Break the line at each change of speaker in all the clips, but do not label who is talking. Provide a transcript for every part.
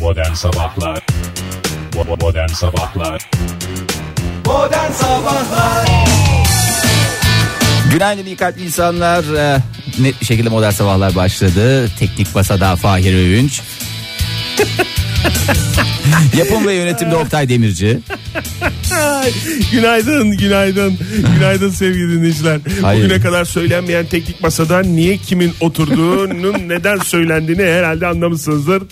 Modern Sabahlar Bo- Modern Sabahlar
Modern Sabahlar
Günaydın iyi kalpli insanlar. Ee, Net bir şekilde modern sabahlar başladı. Teknik masada Fahir Övünç. Yapım ve yönetimde Oktay Demirci.
Ay, günaydın, günaydın, günaydın sevgili dinleyiciler.
Hayır.
Bugüne kadar söylenmeyen teknik masada niye kimin oturduğunun neden söylendiğini herhalde anlamışsınızdır.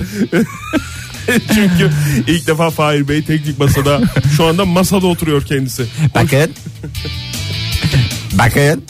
Çünkü ilk defa Fahir Bey teknik masada şu anda masada oturuyor kendisi.
Bakın. Bakın.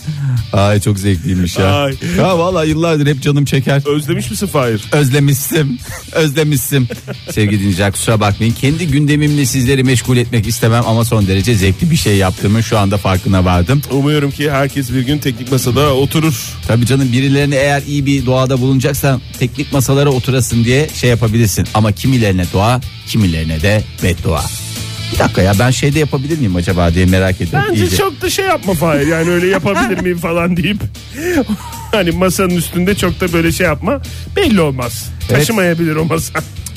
Ay çok zevkliymiş ya.
Ay.
Ya vallahi yıllardır hep canım çeker.
Özlemiş misin Fahir?
Özlemişsim. Özlemişsim. Sevgili dinleyiciler kusura bakmayın. Kendi gündemimle sizleri meşgul etmek istemem ama son derece zevkli bir şey yaptığımı şu anda farkına vardım.
Umuyorum ki herkes bir gün teknik masada oturur.
Tabii canım birilerine eğer iyi bir doğada bulunacaksan teknik masalara oturasın diye şey yapabilirsin. Ama kimilerine doğa kimilerine de beddua. Bir dakika ya ben şeyde yapabilir miyim acaba diye merak ediyorum.
Bence
iyice.
çok da şey yapma Fahir yani öyle yapabilir miyim falan deyip hani masanın üstünde çok da böyle şey yapma belli olmaz.
Evet.
Taşımayabilir o masa.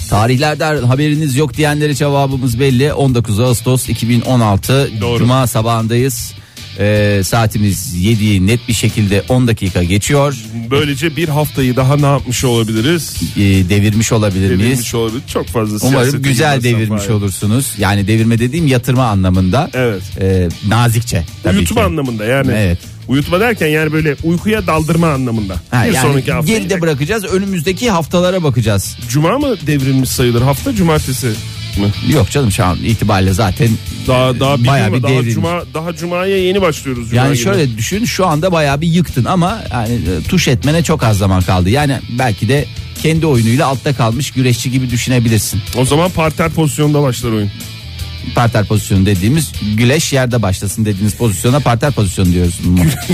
Tarihlerde haberiniz yok diyenlere cevabımız belli. 19 Ağustos 2016
Doğru.
Cuma sabahındayız. Ee, saatimiz 7'yi net bir şekilde 10 dakika geçiyor.
Böylece bir haftayı daha ne yapmış olabiliriz?
Ee, devirmiş olabilir miyiz?
Devirmiş olabilir. Çok fazla siyasete
Umarım güzel
girmezsen
devirmiş
Fahir.
olursunuz. Yani devirme dediğim yatırma anlamında.
Evet.
Ee, nazikçe tabii
Uyutma
ki.
anlamında yani.
Evet.
Uyutma derken yani böyle uykuya daldırma anlamında.
Ha,
bir
yani
sonraki hafta.
geride bırakacağız. Önümüzdeki haftalara bakacağız.
Cuma mı devrilmiş sayılır? Hafta cumartesi mi?
Yok canım şu an itibariyle zaten e,
Daha daha
bayağı
bir,
bir
daha
devrilmiş.
cuma daha cumaya yeni başlıyoruz Cuma
yani
günü.
şöyle düşün şu anda bayağı bir yıktın ama yani e, tuş etmene çok az zaman kaldı. Yani belki de kendi oyunuyla altta kalmış güreşçi gibi düşünebilirsin.
O zaman parter pozisyonda başlar oyun.
Parter pozisyonu dediğimiz güleş yerde başlasın dediğiniz pozisyona parter pozisyonu diyoruz.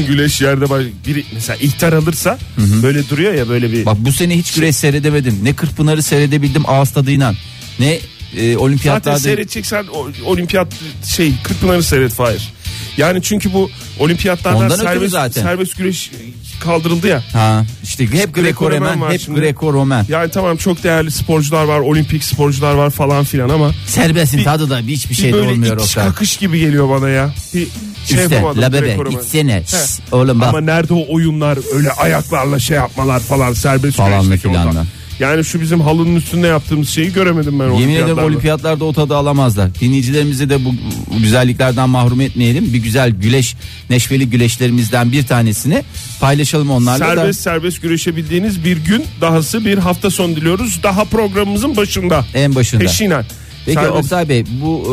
Güleş yerde baş... biri mesela ihtar alırsa böyle duruyor ya böyle bir
Bak bu sene hiç güreş seyredemedim. Ne Kırkpınar'ı seyredebildim ağız tadıyla. Ne e,
Zaten
olimpiyatlarda.
seyredeceksen o- olimpiyat şey Kırkpınar'ı seyret Fahir. Yani çünkü bu olimpiyatlardan
Ondan ötürü
serbest,
zaten.
serbest güreş kaldırıldı ya.
Ha işte hep
Greco-Roman
Greco-Romen,
var
hep
şimdi.
Greco-Romen.
Yani tamam çok değerli sporcular var, olimpik sporcular var falan filan ama
Serbestin
Bir-
tadı da hiçbir
bir
şey de
böyle
olmuyor o
itiş
kadar.
kakış gibi geliyor bana ya. Bir şey
İşte
yapamadım.
la bebe
Greco-Roman.
gitsene.
He.
Şşş, oğlum bak.
Ama nerede o oyunlar öyle ayaklarla şey yapmalar falan serbest
Falan
güreşteki
filan
ondan.
da.
Yani şu bizim halının üstünde yaptığımız şeyi göremedim ben
Yemin ederim
olimpiyatlarda.
olimpiyatlarda o tadı alamazlar. Dinleyicilerimizi de bu güzelliklerden mahrum etmeyelim. Bir güzel güleş, neşveli güleşlerimizden bir tanesini paylaşalım onlarla
Serbest
da.
serbest güreşebildiğiniz bir gün dahası bir hafta son diliyoruz. Daha programımızın başında.
En başında.
Peşinen.
Peki
Serbest-
Oktay Bey bu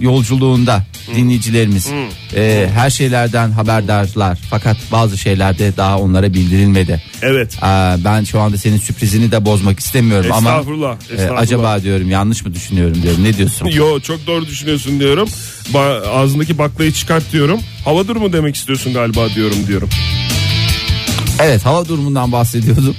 e, yolculuğunda dinleyicilerimiz e, her şeylerden haberdarlar fakat bazı şeylerde daha onlara bildirilmedi.
Evet.
Aa, ben şu anda senin sürprizini de bozmak istemiyorum ama
Estağfurullah,
e,
estağfurullah.
acaba diyorum yanlış mı düşünüyorum diyorum ne diyorsun?
Yo çok doğru düşünüyorsun diyorum. Ba- ağzındaki baklayı çıkart diyorum. Hava durumu demek istiyorsun galiba diyorum diyorum.
Evet hava durumundan bahsediyordum.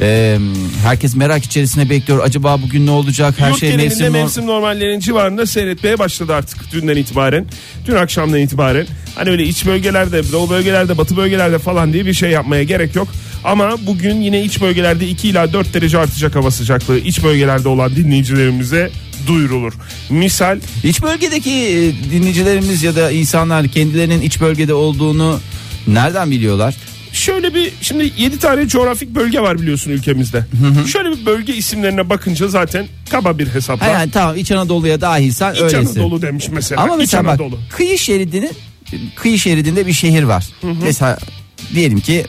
Ee, herkes merak içerisinde bekliyor. Acaba bugün ne olacak? Her
Yurt
şey
genelinde
mevsim,
mevsim,
nor-
normallerinin civarında seyretmeye başladı artık dünden itibaren. Dün akşamdan itibaren. Hani öyle iç bölgelerde, doğu bölgelerde, batı bölgelerde falan diye bir şey yapmaya gerek yok. Ama bugün yine iç bölgelerde 2 ila 4 derece artacak hava sıcaklığı iç bölgelerde olan dinleyicilerimize duyurulur. Misal
İç bölgedeki e, dinleyicilerimiz ya da insanlar kendilerinin iç bölgede olduğunu nereden biliyorlar?
şöyle bir şimdi 7 tane coğrafik bölge var biliyorsun ülkemizde. Şöyle bir bölge isimlerine bakınca zaten kaba bir hesapla.
Ha, yani tamam İç Anadolu'ya dahilsen
İç
öylesin.
Anadolu demiş mesela.
Ama
İç
mesela bak
Anadolu.
kıyı şeridinin kıyı şeridinde bir şehir var. Mesela diyelim ki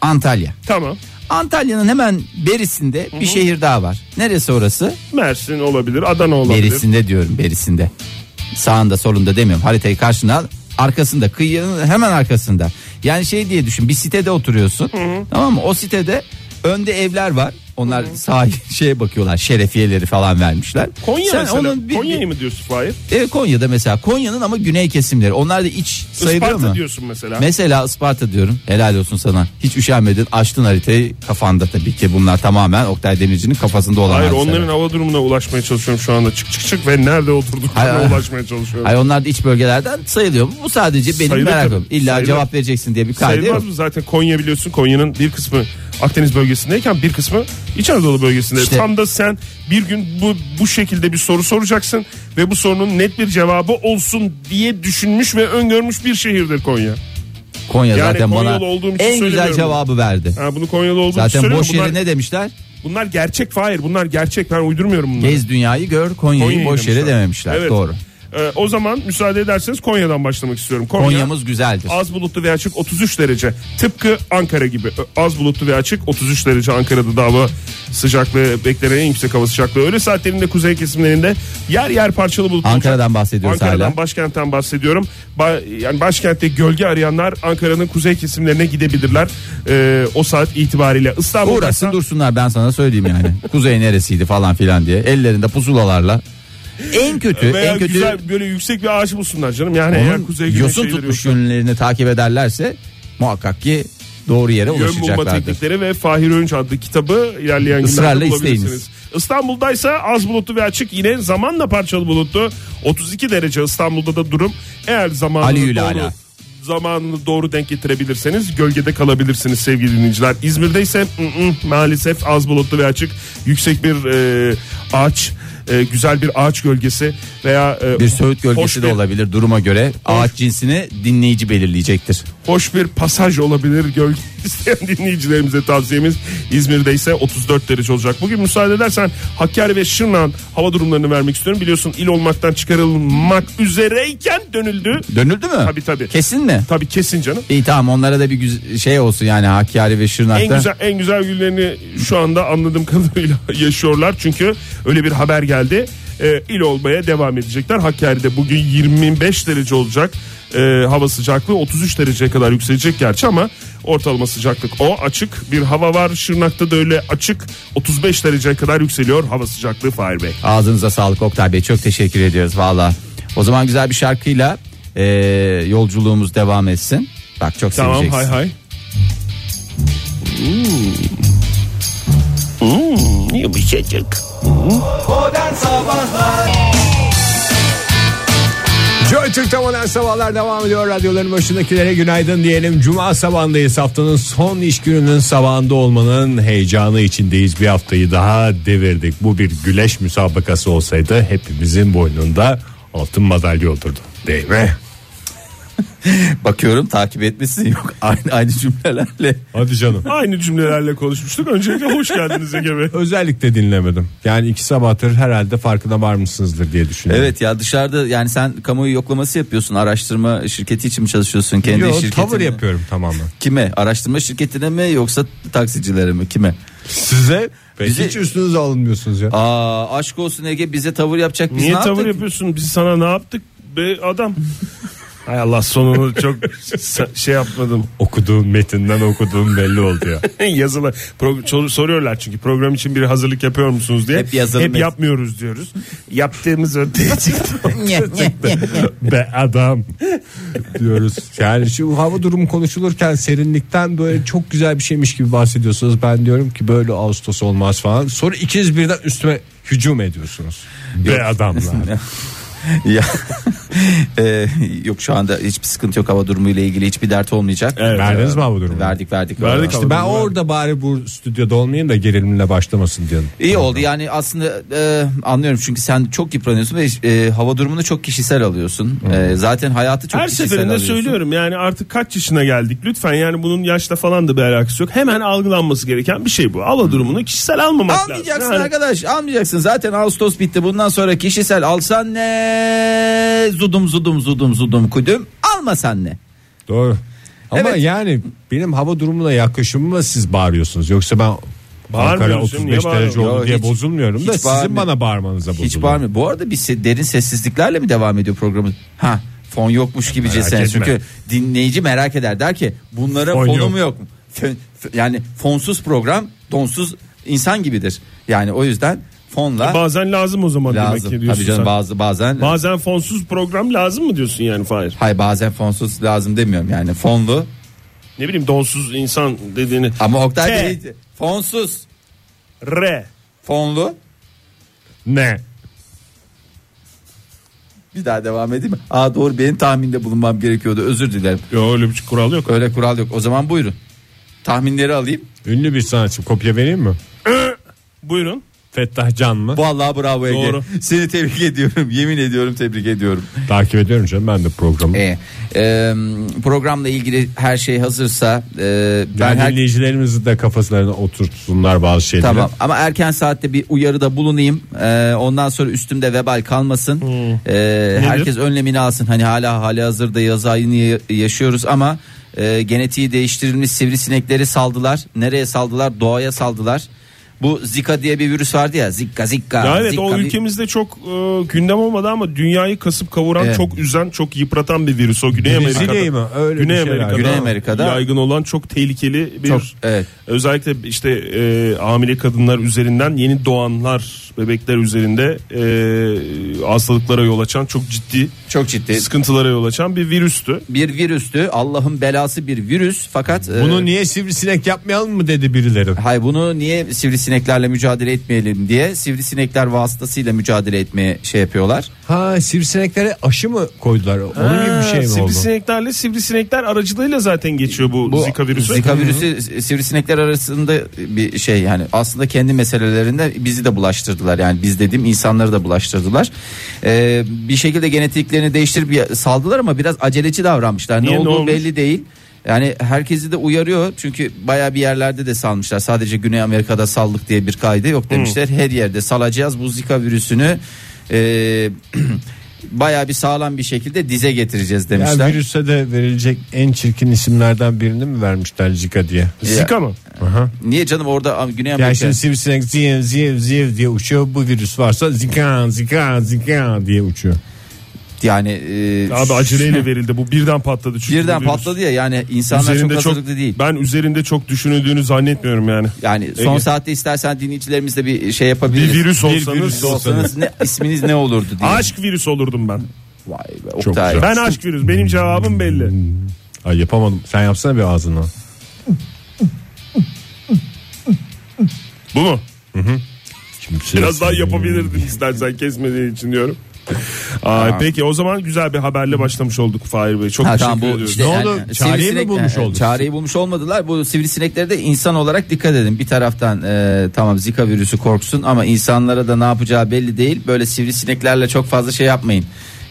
Antalya.
Tamam.
Antalya'nın hemen berisinde bir şehir daha var. Neresi orası?
Mersin olabilir, Adana olabilir.
Berisinde diyorum berisinde. Sağında solunda demiyorum haritayı karşına al. Arkasında kıyının hemen arkasında. Yani şey diye düşün bir sitede oturuyorsun tamam mı o sitede önde evler var. Onlar sahil şeye bakıyorlar şerefiyeleri falan vermişler.
Konya
Sen
mesela.
onun bir-
Konya'yı mı diyorsun Fahir?
Evet, E, Konya'da mesela Konya'nın ama güney kesimleri onlar da iç sayılıyor
Isparta
mu?
diyorsun mesela.
Mesela Isparta diyorum helal olsun sana hiç üşenmedin açtın haritayı kafanda tabii ki bunlar tamamen Oktay Demirci'nin kafasında olan
Hayır
hadisler.
onların hava durumuna ulaşmaya çalışıyorum şu anda. Çık çık çık ve nerede
Hayır,
oturduklarına ulaşmaya çalışıyorum.
Hayır onlar da iç bölgelerden sayılıyor. mu? Bu sadece benim
Sayılır
merakım.
tabii.
İlla
Sayılır.
cevap vereceksin diye bir kaydı yok.
Sayılmaz mı zaten Konya biliyorsun Konya'nın bir kısmı Akdeniz bölgesindeyken bir kısmı İç Anadolu bölgesinde.
İşte-
Tam da sen bir gün bu bu şekilde bir soru soracaksın ve bu sorunun net bir cevabı olsun diye düşünmüş ve öngörmüş bir şehirdir Konya.
Konya
Yani
zaten
Konyalı
bana
olduğum için
en güzel
söylemiyorum.
cevabı verdi.
Ha, bunu Konyalı olduğunu
Zaten
söylüyorum.
boş
bunlar,
yere ne demişler?
bunlar gerçek Fahir bunlar gerçek ben uydurmuyorum bunları.
Gez dünyayı gör Konya'yı
Konya'yı
boş yere
demişler.
dememişler.
Evet.
Doğru.
Ee, o zaman müsaade ederseniz Konya'dan başlamak istiyorum. Konya,
Konya'mız güzeldir.
az bulutlu ve açık 33 derece. Tıpkı Ankara gibi. Ö- Az bulutlu ve açık 33 derece Ankara'da da hava sıcaklığı beklenen en yüksek hava sıcaklığı. Öğle saatlerinde kuzey kesimlerinde yer yer parçalı bulutlu. olacak.
Ankara'dan bahsediyoruz
Ankara'dan
hala.
başkentten bahsediyorum. Ba- yani başkentte gölge arayanlar Ankara'nın kuzey kesimlerine gidebilirler. Ee, o saat itibariyle İstanbul'da
Uğrasın
ise-
dursunlar ben sana söyleyeyim yani. Kuzey neresiydi falan filan diye. Ellerinde pusulalarla. En kötü
Veya
en kötü
güzel böyle yüksek bir ağaç bulsunlar canım. Yani eğer
onun
kuzey güneş
yosun
şeyleri
tutmuş
yoksa-
yönlerini takip ederlerse muhakkak ki doğru yere
Yön bulma
ulaşacaklardır.
teknikleri ve Fahir Önç adlı kitabı ilerleyen günlerde
Israrla
bulabilirsiniz.
isteyiniz.
İstanbul'daysa az bulutlu ve açık yine zamanla parçalı bulutlu. 32 derece İstanbul'da da durum. Eğer zamanını
Ali
doğru,
Yüle Ala.
zamanını doğru denk getirebilirseniz gölgede kalabilirsiniz sevgili dinleyiciler. İzmir'de ise ı, ı, maalesef az bulutlu ve açık. Yüksek bir e, ağaç, e, güzel bir ağaç gölgesi veya e,
Bir söğüt
hoş
gölgesi de
bir-
olabilir duruma göre. Ağaç cinsini dinleyici belirleyecektir.
hoş bir pasaj olabilir gölge isteyen dinleyicilerimize tavsiyemiz. İzmir'de ise 34 derece olacak. Bugün müsaade edersen Hakkari ve Şırnak'ın hava durumlarını vermek istiyorum. Biliyorsun il olmaktan çıkarılmak üzereyken dönüldü.
Dönüldü mü?
Tabii, tabii.
Kesin mi?
Tabii kesin canım.
İyi tamam onlara da bir güz- şey olsun yani Hakkari ve Şırnak'ta.
En güzel en güzel günlerini şu anda anladığım kadarıyla yaşıyorlar. Çünkü öyle bir haber geldi. Ee, il olmaya devam edecekler. Hakkari'de bugün 25 derece olacak. Ee, hava sıcaklığı 33 dereceye kadar yükselecek gerçi ama ortalama sıcaklık o açık bir hava var Şırnak'ta da öyle açık 35 dereceye kadar yükseliyor hava sıcaklığı Fahir Bey.
Ağzınıza sağlık Oktay Bey çok teşekkür ediyoruz valla. O zaman güzel bir şarkıyla eee, yolculuğumuz devam etsin. Bak çok
Tamam hay
seveceksin.
hay. Hmm. Hmm, yumuşacık.
Modern Sabahlar
Joy Türk'te modern sabahlar devam ediyor. Radyoların başındakilere günaydın diyelim. Cuma sabahındayız. Haftanın son iş gününün sabahında olmanın heyecanı içindeyiz. Bir haftayı daha devirdik. Bu bir güleş müsabakası olsaydı hepimizin boynunda altın madalya olurdu. Değil mi?
Bakıyorum takip etmesi yok aynı aynı cümlelerle.
Hadi canım.
Aynı cümlelerle konuşmuştuk. Öncelikle hoş geldiniz Ege Bey.
Özellikle dinlemedim. Yani iki sabahtır herhalde farkına varmışsınızdır diye düşünüyorum.
Evet ya dışarıda yani sen kamuoyu yoklaması yapıyorsun araştırma şirketi için mi çalışıyorsun kendi
Yo,
şirketine
tavır
mi?
yapıyorum tamamen.
Kime araştırma şirketine mi yoksa taksicilere mi kime?
Size
Bizi-
hiç üstünüze alınmıyorsunuz ya.
Aa aşk olsun Ege bize tavır yapacak biz
Niye
ne
tavır
yaptık?
yapıyorsun? Biz sana ne yaptık be adam? Hay Allah sonunu çok sa- şey yapmadım.
Okuduğum metinden okuduğum belli oldu ya.
Yazılı. Pro- çor- soruyorlar çünkü program için bir hazırlık yapıyor musunuz diye.
Hep yazılı mes-
yapmıyoruz diyoruz. Yaptığımız ortaya çıktı.
Nye, nye, nye.
be adam diyoruz. Yani şu hava durumu konuşulurken serinlikten böyle çok güzel bir şeymiş gibi bahsediyorsunuz. Ben diyorum ki böyle Ağustos olmaz falan. Sonra ikiniz birden üstüme hücum ediyorsunuz. Be adamlar.
ya Ee, yok şu anda hiçbir sıkıntı yok hava durumuyla ilgili hiçbir dert olmayacak.
Verdiniz mi hava durumu?
Verdik verdik.
Verdik
İşte
hava
Ben
durumu.
orada bari bu stüdyoda olmayayım da gerilimle başlamasın diyorum.
İyi oldu yani aslında e, anlıyorum çünkü sen çok yıpranıyorsun ve e, hava durumunu çok kişisel alıyorsun. E, zaten hayatı çok
Her
kişisel
seferinde
alıyorsun.
söylüyorum yani artık kaç yaşına geldik lütfen yani bunun yaşla falan da bir alakası yok. Hemen algılanması gereken bir şey bu. Hava durumunu kişisel almamak lazım.
Hmm. Almayacaksın
Yani-
arkadaş almayacaksın zaten Ağustos bitti bundan sonra kişisel alsan ne zudum zudum zudum zudum kudüm almasan ne.
Doğru. Ama
Evet.
yani benim hava durumuna yakışımıma siz bağırıyorsunuz. Yoksa ben Ankara
Bağırmıyoruz canım, niye
35 derece
bağırıyoruz?
oldu
Yo,
diye
hiç-
bozulmuyorum da
hiç
sizin
bağırmıyor.
bana bağırmanıza
Hiç
bozuluyorum.
bağırmıyor. Bu arada bir se- derin sessizliklerle mi devam ediyor programın? Ha fon yokmuş gibicesine
etme.
çünkü dinleyici merak eder der ki bunlara
Fon
fonu
yok.
mu yok mu? Fön- f- yani fonsuz program donsuz insan gibidir. Yani o yüzden fonla
Bazen lazım o zaman
lazım.
E, demek ki diyorsun
Tabii canım
sen.
bazı bazen
Bazen fonsuz program lazım mı diyorsun yani Fahir?
hay bazen fonsuz lazım demiyorum yani fonlu
Ne bileyim donsuz insan dediğini.
ama Oktay
T.
Bey fonsuz
R.
fonlu
Ne?
bir daha devam edeyim mi? Aa doğru benim tahminde bulunmam gerekiyordu özür dilerim.
Yok öyle bir kural yok.
Öyle kural yok. O zaman buyurun. tahminleri alayım.
Ünlü bir sanatçı kopya vereyim mi?
Buyurun.
Fettah Can mı?
Vallahi bravo Ege.
Doğru.
Seni tebrik ediyorum. Yemin ediyorum tebrik ediyorum.
Takip ediyorum canım ben de programı.
E, e, programla ilgili her şey hazırsa e, ben
yani
her
dinleyicilerimizi de kafaslarına oturtsunlar bazı şeyleri.
Tamam ama erken saatte bir uyarıda bulunayım. Ee, ondan sonra üstümde vebal kalmasın.
Hmm.
Ee, herkes önlemini alsın. Hani hala hali hazırda yaz ayını ya- yaşıyoruz ama e, genetiği değiştirilmiş sivrisinekleri saldılar. Nereye saldılar? Doğaya saldılar. Bu Zika diye bir virüs vardı ya. Zika Zika.
Ya evet
Zika
o
bir-
ülkemizde çok e, gündem olmadı ama dünyayı kasıp kavuran
Evet.
çok üzen çok yıpratan bir virüs o Güney
Brezilya'yı
Amerika'da.
mı? Öyle bir şey
Güney
şeyler.
Amerika'da,
Güney Amerika'da.
yaygın olan çok tehlikeli bir
Çok, evet.
özellikle işte e, hamile kadınlar üzerinden yeni doğanlar bebekler üzerinde e, hastalıklara yol açan çok ciddi
Çok ciddi.
sıkıntılara yol açan bir virüstü.
Bir virüstü. Allah'ın belası bir virüs fakat e,
Bunu niye sivrisinek yapmayalım mı dedi birileri.
Hay bunu niye sivrisineklerle mücadele etmeyelim diye sivrisinekler vasıtasıyla mücadele etmeye şey yapıyorlar.
Ha sivrisineklere aşı mı koydular? Onun gibi bir şey mi oldu?
Sivrisineklerle sivrisinekler aracılığıyla zaten geçiyor bu, Zika virüsü.
Zika virüsü e, sivrisinekler arasında bir şey yani aslında kendi meselelerinde bizi de bulaştırdılar yani biz dediğim insanları da bulaştırdılar. Ee, bir şekilde genetiklerini değiştirip ya- saldılar ama biraz aceleci davranmışlar.
Niye,
ne
ne
olduğu
olmuş?
belli değil. Yani herkesi de uyarıyor çünkü baya bir yerlerde de salmışlar. Sadece Güney Amerika'da saldık diye bir kaydı yok demişler. Her yerde salacağız bu Zika virüsünü. Ee, baya bir sağlam bir şekilde dize getireceğiz demişler.
Yani virüse de verilecek en çirkin isimlerden birini mi vermişler Zika diye?
Zika mı?
Aha.
Niye canım orada Güney Amerika?
Yani şimdi sivrisinek ziv ziv ziv diye uçuyor. Bu virüs varsa zika zika zika diye uçuyor.
Yani e,
Abi aceleyle verildi bu birden patladı çünkü.
birden
bu virüs.
patladı ya yani insanlar çok
Üzerinde
hazırlıklı değil.
Ben üzerinde çok düşünüldüğünü zannetmiyorum yani.
Yani son
Ege.
saatte istersen dinleyicilerimizle bir şey yapabiliriz.
Bir virüs olsanız-
olsanız ne, isminiz ne olurdu diye.
Aşk virüs olurdum ben.
Vay be Oktay.
Ben aşk virüs. Benim cevabım belli.
Ay yapamadım. Sen yapsana bir ağzına.
Bu mu?
şey
Kimse-
Biraz daha yapabilirdin istersen kesmediğin için diyorum. Ay, peki o zaman güzel bir haberle başlamış olduk Fahir Bey. Çok
Ha,
teşekkür
tamam bu
ediyoruz.
işte
Ne
yani
oldu? Çareyi mi
sivrisinekler-
bulmuş olduk?
Çareyi bulmuş olmadılar. Bu sivrisineklere de insan olarak dikkat edin. Bir taraftan e, tamam Zika virüsü korksun ama insanlara da ne yapacağı belli değil. Böyle sivrisineklerle çok fazla şey yapmayın.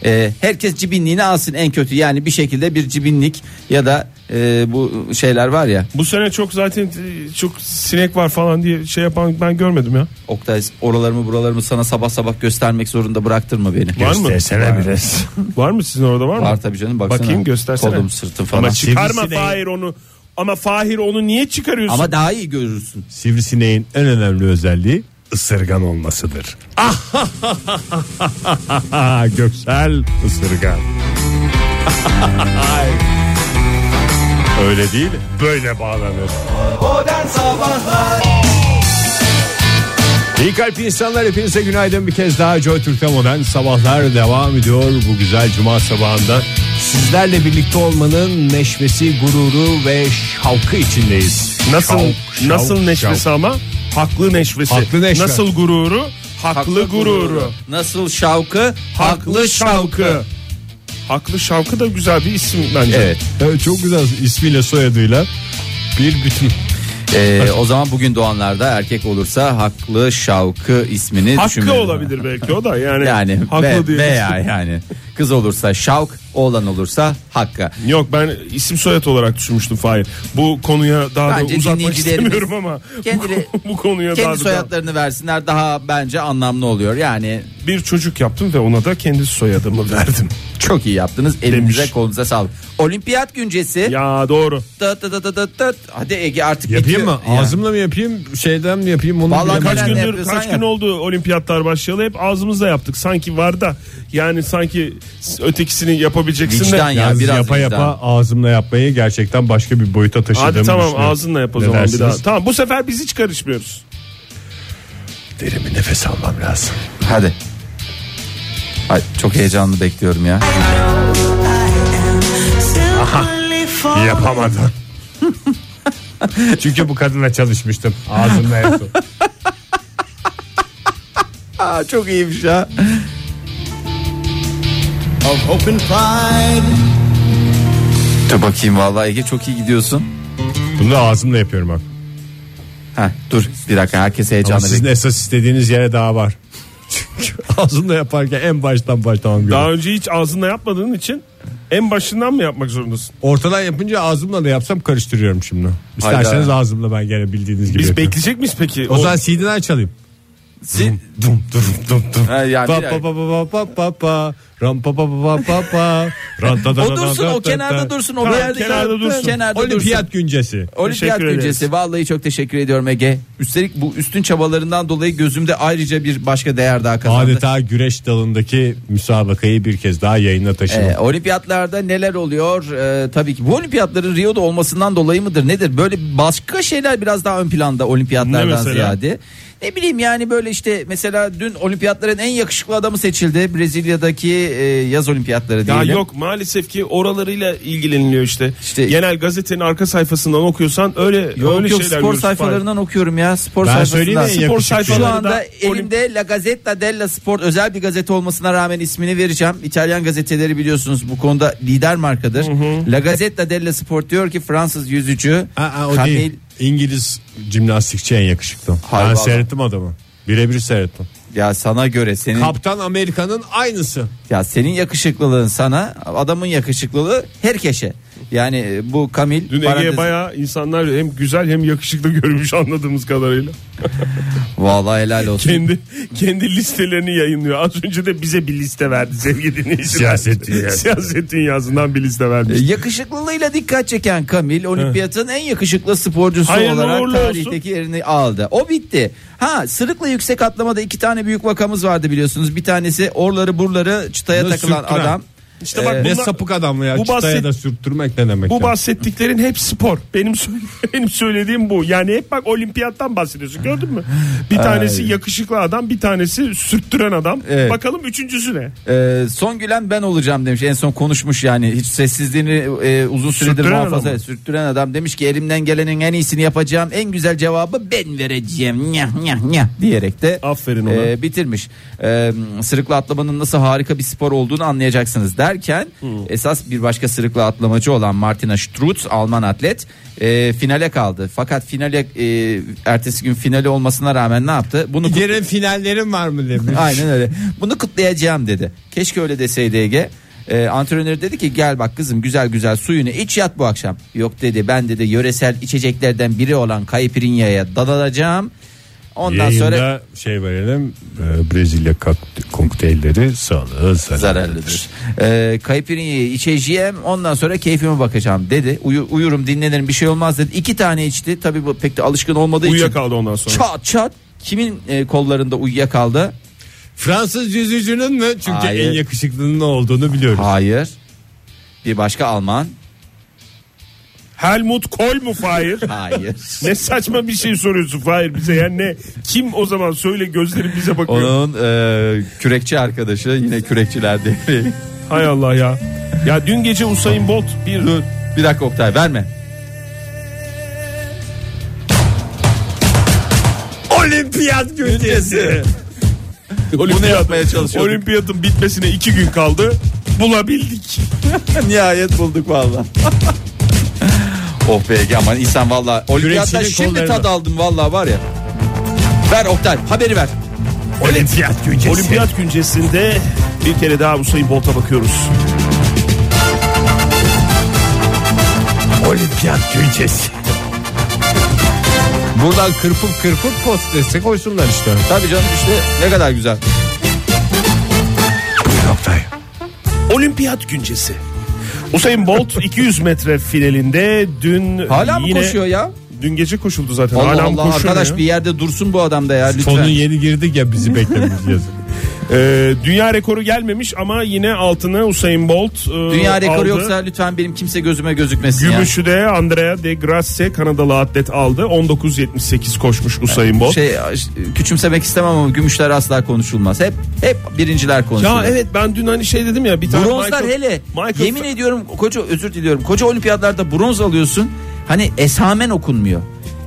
E, herkes cibinliğini alsın en kötü. Yani bir şekilde bir cibinlik ya da e, bu şeyler var ya.
Bu sene çok zaten e, çok sinek var falan diye şey yapan ben görmedim ya.
Oktay oralarımı buralarımı sana sabah sabah göstermek zorunda bıraktırma beni.
Var mı? biraz. Var mı sizin orada var mı?
Var tabii canım baksana.
Bakayım göstersene.
Kolum sırtım falan.
Ama çıkarma
Sivrisineği-
Fahir onu. Ama Fahir onu niye çıkarıyorsun?
Ama daha iyi görürsün.
Sivrisineğin en önemli özelliği ısırgan olmasıdır. Göksel ısırgan. Öyle değil, böyle bağlanır.
Modern Sabahlar
İyi kalp insanlar hepinize günaydın bir kez daha Joy Türk'te modern sabahlar devam ediyor bu güzel cuma sabahında. Sizlerle birlikte olmanın neşvesi, gururu ve şavkı içindeyiz.
Nasıl
Şavk, şavk,
nasıl neşvesi
şavk.
ama haklı neşvesi.
Haklı neşve.
Nasıl gururu? Haklı, gururu.
Nasıl şavkı? Haklı şavkı.
Haklı şavkı da güzel bir isim bence.
Evet.
Evet, çok güzel ismiyle soyadıyla bir bütün.
Ee, o zaman bugün doğanlarda erkek olursa haklı şavkı ismini
Hakkı
düşünmeyelim.
olabilir belki o da yani.
Yani
haklı
ve-
diye.
veya yani kız olursa şavk, oğlan olursa hakka.
Yok ben isim soyad olarak düşünmüştüm Fahir. Bu konuya daha
Bence
da uzatmak
dinleyicilerimiz
istemiyorum ama
kendileri-
bu, bu konuya daha
Kendi
da-
soyadlarını versinler daha bence anlamlı oluyor. Yani
bir çocuk yaptım ve ona da kendi soyadımı verdim.
çok iyi yaptınız. Elinize
Demiş.
kolunuza sağlık. Olimpiyat güncesi.
Ya doğru.
Tıt tıt tıt tıt tıt. Hadi Ege artık
Yapayım
bitiyor.
mı? Ağzımla mı yapayım? Şeyden mi yapayım? Onu
Vallahi
bilemedim.
Kaç
Sen ne
gündür
yapıyorsan
kaç gün
yap.
oldu olimpiyatlar başlayalı hep ağzımızla yaptık. Sanki var da yani sanki ötekisini yapabileceksin
Vicdan
de.
ya.
Yalnız
biraz
yapa
vicdan.
yapa ağzımla yapmayı gerçekten başka bir boyuta taşıdığımı
Hadi tamam
düşünüyorum.
ağzınla yap o
Ne
zaman
dersiniz?
bir daha. Tamam bu sefer biz hiç karışmıyoruz.
Derin bir nefes almam lazım.
Hadi. Ay, çok heyecanlı bekliyorum ya.
Yapamadım. Çünkü bu kadınla çalışmıştım. Ağzımla yaptım.
Aa, çok iyiymiş ya.
Of hope and pride
Dur bakayım vallahi Ege çok iyi gidiyorsun.
Bu Bunu da ağzımla yapıyorum abi.
Heh, dur bir dakika herkes
Ama
heyecanla
sizin
bekliyor.
esas istediğiniz yere daha var. Çünkü ağzımla yaparken en baştan başlamam gerekiyor.
Daha önce hiç ağzında yapmadığın için en başından mı yapmak zorundasın?
Ortadan yapınca ağzımla da yapsam karıştırıyorum şimdi. İsterseniz
Hayda.
ağzımla ben gene bildiğiniz gibi.
Biz
yapıyorum.
bekleyecek miyiz peki?
O zaman CD'den çalayım.
Si-
Dum dum dum dum.
Ha, yani
Pa
bir-
pa pa pa pa pa pa. Ram pa pa pa pa pa pa. Ran ta ta ta
O dursun
ta ta
o
ta.
kenarda dursun. O
Tamam,
bir yerde
kenarda dursun.
Kenarda dursun.
Olimpiyat güncesi.
Olimpiyat
Teşekkür ederiz.
güncesi vallahi çok teşekkür ediyorum Ege. Üstelik bu üstün çabalarından dolayı gözümde ayrıca bir başka değer daha kazandı.
Adeta güreş dalındaki müsabakayı bir kez daha yayına taşıdım.
Ee, olimpiyatlarda neler oluyor? Ee, tabii ki bu olimpiyatların Rio'da olmasından dolayı mıdır nedir? Böyle başka şeyler biraz daha ön planda
Ne
olimpiyatlardan
mesela?
ziyade. Ne bileyim yani böyle işte mesela dün olimpiyatların en yakışıklı adamı seçildi. Brezilya'daki e, yaz olimpiyatları
Ya
diyelim.
yok maalesef ki oralarıyla ilgileniliyor işte.
İşte-
Genel gazetenin arka sayfasından okuyorsan öyle
Yok,
öyle
yok,
şeyler
spor
görürsün.
sayfalarından okuyorum ya spor
Ben söyleyeyim
sayfasından.
en
Spor
yakışıklı.
Şu
sayfalarında
anda
olim-
elimde La Gazzetta della Sport özel bir gazete olmasına rağmen ismini vereceğim. İtalyan gazeteleri biliyorsunuz bu konuda lider markadır. La Gazzetta della Sport diyor ki Fransız yüzücü
Aa, o
Kamil-
değil. İngiliz cimnastikçi en yakışıklı.
Hay
ben
vallahi.
seyrettim adamı. Birebir seyrettim.
Ya sana göre senin
Kaptan Amerika'nın aynısı.
ya senin yakışıklılığın sana adamın yakışıklılığı herkese. Yani bu Kamil
Dün
parantez-
Ege'ye bayağı insanlar hem güzel hem yakışıklı görmüş anladığımız kadarıyla.
vallahi helal olsun.
Kendi kendi listelerini yayınlıyor. Az önce de bize bir liste verdi sevgili dinleyiciler.
Siyaset dünyası.
Siyaset dünyasından bir liste
E,
vermiş.
Yakışıklılığıyla dikkat çeken Kamil olimpiyatın en yakışıklı sporcusu
Hayırlı
olarak
uğurlu olsun.
tarihteki yerini aldı. O bitti. Ha sırıkla yüksek atlamada iki tane büyük vakamız vardı biliyorsunuz. Bir tanesi orları burları çıtaya
Nasıl
takılan
sürttüren?
adam.
İşte bak
Ee,
e, Ne
bunlar-
sapık adamla ya.
bu
Çıtaya
bahset-
da sürttürmek ne demek
Bu
ya?
bahsettiklerin hep spor. Benim sö- benim söylediğim bu. Yani hep bak olimpiyattan bahsediyorsun gördün mü? Bir tanesi yakışıklı adam, bir tanesi sürttüren adam.
Evet.
Bakalım üçüncüsü ne?
Ee, son gülen ben olacağım demiş. En son konuşmuş yani. Hiç sessizliğini e, uzun süredir
Sürttüren
muhafaza
adam mı?
sürttüren adam demiş ki elimden gelenin en iyisini yapacağım. En güzel cevabı ben vereceğim. Nyah, nyah, nyah diyerek de
Aferin ona.
e, bitirmiş. E, sırıkla atlamanın nasıl harika bir spor olduğunu anlayacaksınız derken esas bir başka sırıkla atlamacı olan Martina Strutz Alman atlet e, finale kaldı. Fakat finale e, ertesi gün finale olmasına rağmen ne yaptı? Bunu kutlu-
Yarın finallerim var mı demiş.
Aynen öyle. Bunu kutlayacağım dedi. Keşke öyle deseydi Ege. Ee, antrenörü dedi ki gel bak kızım güzel güzel suyunu iç yat bu akşam. Yok dedi ben dedi yöresel içeceklerden biri olan kaypirinyaya dadanacağım. Ondan
Yayında
sonra
şey verelim e, Brezilya kak- kokteylleri sağlığı zararlıdır.
zararlıdır. Ee, kaypirinyayı içeceğim ondan sonra keyfime bakacağım dedi. Uyu- uyurum dinlenirim bir şey olmaz dedi. İki tane içti tabi bu pek de alışkın olmadığı için.
Uyuyakaldı ondan sonra.
Çat çat kimin e, kollarında uyuyakaldı?
Fransız yüzücünün mü? Çünkü
Hayır.
en yakışıklının ne olduğunu biliyoruz.
Hayır. Bir başka Alman.
Helmut Kohl mu Fahir?
Hayır.
ne saçma bir şey soruyorsun Fahir bize yani ne? Kim o zaman söyle gözlerim bize bakıyor.
Onun e, kürekçi arkadaşı yine kürekçiler devri.
Hay Allah ya. Ya dün gece Usain Bolt bir
Dur bir dakika Oktay verme.
Olimpiyat güncesi.
Olimpiyat-
yapmaya çalışıyorduk.
Olimpiyatın bitmesine iki gün kaldı. Bulabildik.
Nihayet bulduk valla. oh be Ege aman insan valla. Olimpiyattan
Kürekçinin
şimdi
kollarını.
tad aldım valla var ya. Ver Oktay haberi ver.
Olimpiyat güncesi.
Olimpiyat güncesinde bir kere daha Usain Bolt'a bakıyoruz.
Olimpiyat güncesi. Buradan kırpıp kırpıp post dese koysunlar işte.
Tabii canım işte ne kadar güzel.
Olimpiyat güncesi. Usain Bolt 200 metre finalinde dün
Hala mı
yine-
koşuyor ya?
Dün gece koşuldu zaten.
Allah
Hala mı
Allah
koşuyor
arkadaş
ya?
bir yerde dursun bu adam da ya lütfen.
Tonu yeni girdik ya bizi beklememiz yazık.
Ee, dünya rekoru gelmemiş ama yine altını Usain Bolt e,
Dünya rekoru
aldı.
yoksa lütfen benim kimse gözüme gözükmesin ya.
Gümüşü de Andrea de Grasse Kanadalı atlet aldı. 19.78 koşmuş Usain Bolt.
Şey küçümsemek istemem ama gümüşler asla konuşulmaz. Hep hep birinciler konuşulur.
ya evet ben dün hani şey dedim ya bir tane
Bronzlar
Michael-
hele
Michael
yemin ediyorum koca özür diliyorum. Koca olimpiyatlarda bronz alıyorsun. Hani esamen okunmuyor.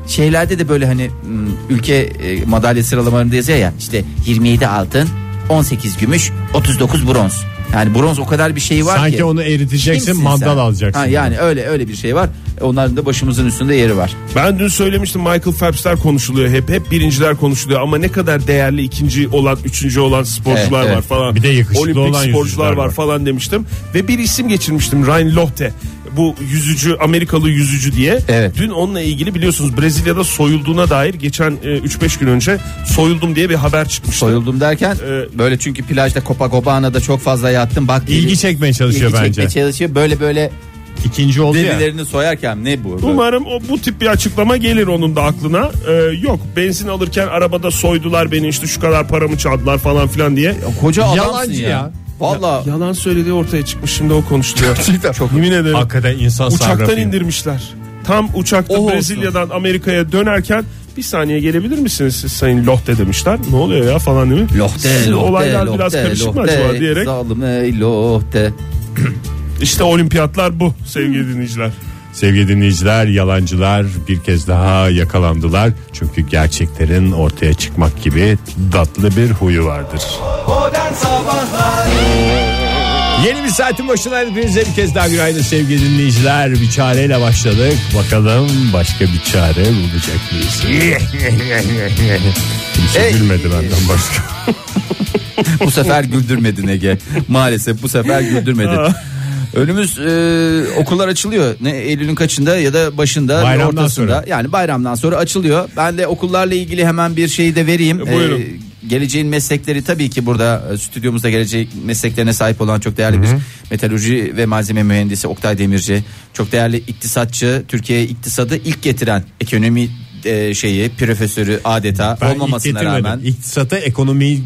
Şeylerde de böyle hani m, ülke e, madalya sıralamalarında yazıyor ya işte 27 altın, 18 gümüş, 39 bronz. Ha, Yani bronz o kadar bir şey var
Sanki
ki.
onu eriteceksin,
Kimsin
mandal
sen?
alacaksın.
Ha, yani öyle öyle bir şey var. Onların da başımızın üstünde yeri var.
Ben dün söylemiştim Michael Phelps'ler konuşuluyor hep. Hep birinciler konuşuluyor ama ne kadar değerli ikinci olan, üçüncü olan sporcular
Evet,
var
evet.
falan.
Bir de yakışıklı
Olimpik
olan yüzücüler
sporcular var
var.
falan demiştim. Ve bir isim geçirmiştim Ryan Lochte. Bu yüzücü, Amerikalı yüzücü diye.
Evet.
Dün onunla ilgili biliyorsunuz Brezilya'da soyulduğuna dair geçen e, 3-5 gün önce soyuldum diye bir haber çıkmıştı.
Soyuldum derken
Ee,
böyle çünkü plajda Copacabana da çok fazla yattım. Bak
İlgi çekmeye çalışıyor
ilgi
bence.
çekmeye çalışıyor. Böyle böyle
İkinci oldu ya.
devilerini soyarken ne bu? Böyle-
Umarım o bu tip bir açıklama gelir onun da aklına. Ee, yok benzin alırken arabada soydular beni işte şu kadar paramı çaldılar falan filan diye.
Koca adamsın
Yalancı
ya.
ya.
Valla
Yalan söylediği ortaya çıkmış şimdi o konuşuluyor. Çok yemin ederim.
Hakikaten insan
Uçaktan
sarrafı.
indirmişler. Tam uçakta
O olsun.
Brezilya'dan Amerika'ya dönerken bir saniye gelebilir misiniz siz Sayın Lohte demişler. Ne oluyor ya falan değil mi?
lohte
Sizin
lohte
olaylar
lohte,
biraz karışık mı
lohte,
acaba diyerek.
Zalime lohte.
İşte olimpiyatlar bu sevgili dinleyiciler.
Sevgili dinleyiciler yalancılar bir kez daha yakalandılar. Çünkü gerçeklerin ortaya çıkmak gibi tatlı bir huyu vardır.
Modern Sabahlar
Yeni bir saatin başına hepinize bir kez daha günaydın sevgili dinleyiciler. Bir çareyle başladık. Bakalım başka bir çare bulacak mıyız? Kimse
Hey.
gülmedi benden başka.
bu sefer güldürmedin Ege. Maalesef bu sefer güldürmedin. Önümüz e, okullar açılıyor. Ne Eylül'ün kaçında ya da başında
Bayramdan
ortasında.
sonra.
Yani bayramdan sonra açılıyor. Ben de okullarla ilgili hemen bir şeyi de vereyim.
E, buyurun.
geleceğin meslekleri tabii ki burada e, stüdyomuzda gelecek mesleklerine sahip olan çok değerli bir metalurji ve malzeme mühendisi Oktay Demirci. Çok değerli iktisatçı, Türkiye'ye iktisadı ilk getiren ekonomi e, şeyi profesörü adeta
Ben
olmamasına
getirmedim.
rağmen
İktisata ekonomiyi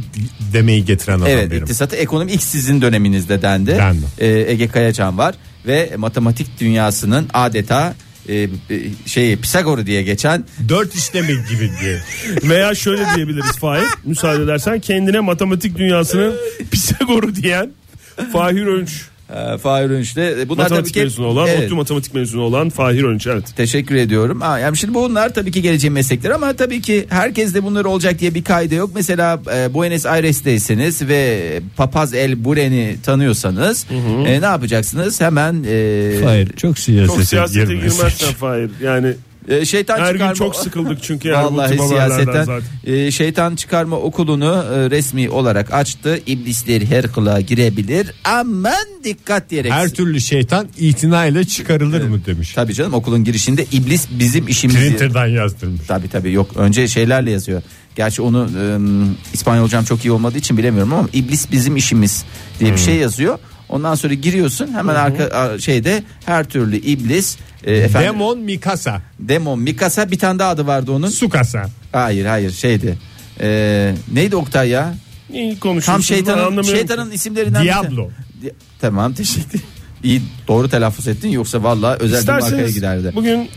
demeyi getiren adam
Evet
benim.
iktisatı ekonomi ilk sizin döneminizde dendi.
Dendi.
Ee, Ege Kayacan var ve matematik dünyasının adeta e, e, şey Pisagor'u diye geçen
Dört işlemi gibi diye.
Veya şöyle diyebiliriz Fahir. Müsaade edersen kendine matematik dünyasının Pisagor'u diyen Fahir Önç.
e, Fahir Önç'te. Bunlar tabii
Matematik
ki-
mezunu olan,
Evet.
ODTÜ matematik mezunu olan Fahir Önç evet.
Teşekkür ediyorum. Ha, yani şimdi bunlar tabii ki geleceğin meslekleri ama tabii ki herkes de bunlar olacak diye bir kaydı yok. Mesela e, Buenos Aires'teyseniz ve Papaz El Buren'i tanıyorsanız e, ne yapacaksınız? Hemen e,
Hayır çok siyasete,
Çok siyasete
girmesek.
girmezsen Fahir. Yani
e, şeytan
her gün
çıkarma-
çok sıkıldık çünkü her bu
Vallahi
tip haberlerden
siyasetten
zaten.
e, şeytan çıkarma okulunu e, resmi olarak açtı. İblisler her kulağa girebilir. Aman dikkat diyerek.
Her türlü şeytan itinayla çıkarılır mı demiş.
Tabii canım okulun girişinde iblis bizim işimiz.
Printer'dan yazdırmış.
Tabii tabii yok önce şeylerle yazıyor. Gerçi onu e, İspanyolcam çok iyi olmadığı için bilemiyorum ama iblis bizim işimiz diye
Hmm.
bir şey yazıyor. Ondan sonra giriyorsun hemen arka a- şeyde her türlü iblis e, efendim
Demon Mikasa.
demon Mikasa bir tane daha adı vardı onun.
Sukasa.
Hayır hayır şeydi. E, neydi Oktay ya?
İyi konuşuyorsun.
Tam
ben
şeytanın,
anlamıyorum.
şeytanın isimlerinden biri.
Diablo.
Di- Tamam teşekkür İyi doğru telaffuz ettin yoksa vallahi özel bir markaya
İsterseniz
giderdi.
bugün